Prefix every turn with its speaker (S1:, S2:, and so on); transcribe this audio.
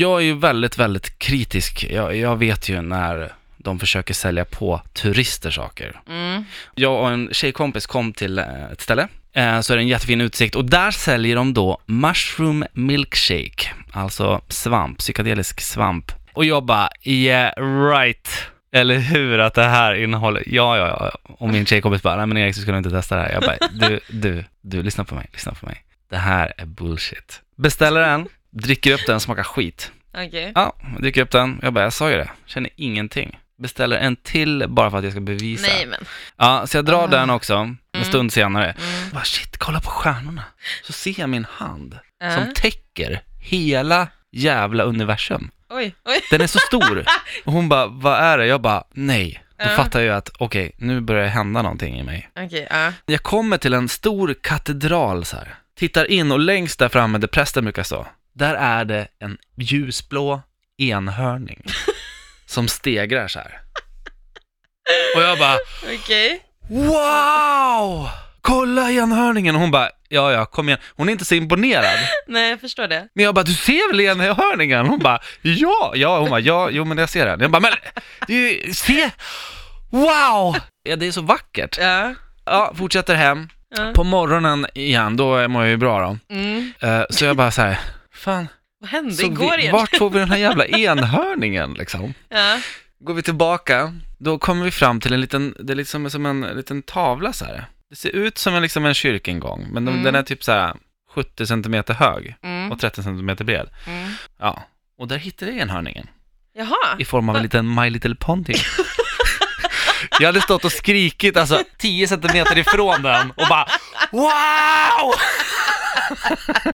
S1: Jag är ju väldigt, väldigt kritisk. Jag, jag vet ju när de försöker sälja på turister saker.
S2: Mm.
S1: Jag och en tjejkompis kom till eh, ett ställe, eh, så är det en jättefin utsikt och där säljer de då mushroom milkshake, alltså svamp, psykedelisk svamp. Och jag bara, yeah right. Eller hur att det här innehåller, ja ja ja. Och min tjejkompis bara, nej men Erik du skulle inte testa det här. Jag bara, du, du, du, lyssna på mig, lyssna på mig. Det här är bullshit. Beställer den, dricker upp den, smakar skit.
S2: Okej.
S1: Ja, dricker upp den. Jag bara, jag sa ju det. Känner ingenting. Beställer en till bara för att jag ska bevisa.
S2: Nej men.
S1: Ja, så jag drar
S2: Ah.
S1: den också, en stund senare.
S2: Mm.
S1: Bara, shit, kolla på stjärnorna. Så ser jag min hand
S2: Ja.
S1: som täcker hela jävla universum.
S2: Oj, oj.
S1: Den är så stor. Och hon bara, vad är det? Jag bara, nej. Då
S2: Ja.
S1: fattar jag att, okej, nu börjar det hända någonting i mig.
S2: Okej, ja.
S1: Jag kommer till en stor katedral så här. Tittar in och längst där framme där prästen brukar stå, där är det en ljusblå enhörning som stegrar så här. Och jag bara,
S2: Okej.
S1: wow! Kolla enhörningen! Och hon bara, ja ja, kom igen. Hon är inte så imponerad.
S2: Nej, jag förstår det.
S1: Men jag bara, du ser väl enhörningen? Hon bara, ja, ja, hon bara, ja, jo men jag ser den. Jag bara, men du, se, wow! Ja, det är så vackert.
S2: Ja.
S1: Ja, fortsätter hem.
S2: ja.
S1: På morgonen igen, då mår jag ju bra då.
S2: Mm.
S1: Eh, så jag bara så här, fan,
S2: Vad hände
S1: så
S2: igår
S1: vi,
S2: igen?
S1: vart får vi den här jävla enhörningen liksom?
S2: Ja.
S1: Går vi tillbaka, då kommer vi fram till en liten, det är liksom som en liten tavla så här. Det ser ut som en, liksom en kyrkingång, men de,
S2: Mm.
S1: den är typ så här 70 centimeter hög
S2: Mm.
S1: och 30 centimeter bred.
S2: Mm.
S1: Ja, och där hittade jag enhörningen
S2: Jaha.
S1: i form av en liten My Little Ponty. Jag hade stått och skrikit alltså 10 centimeter ifrån den och bara wow!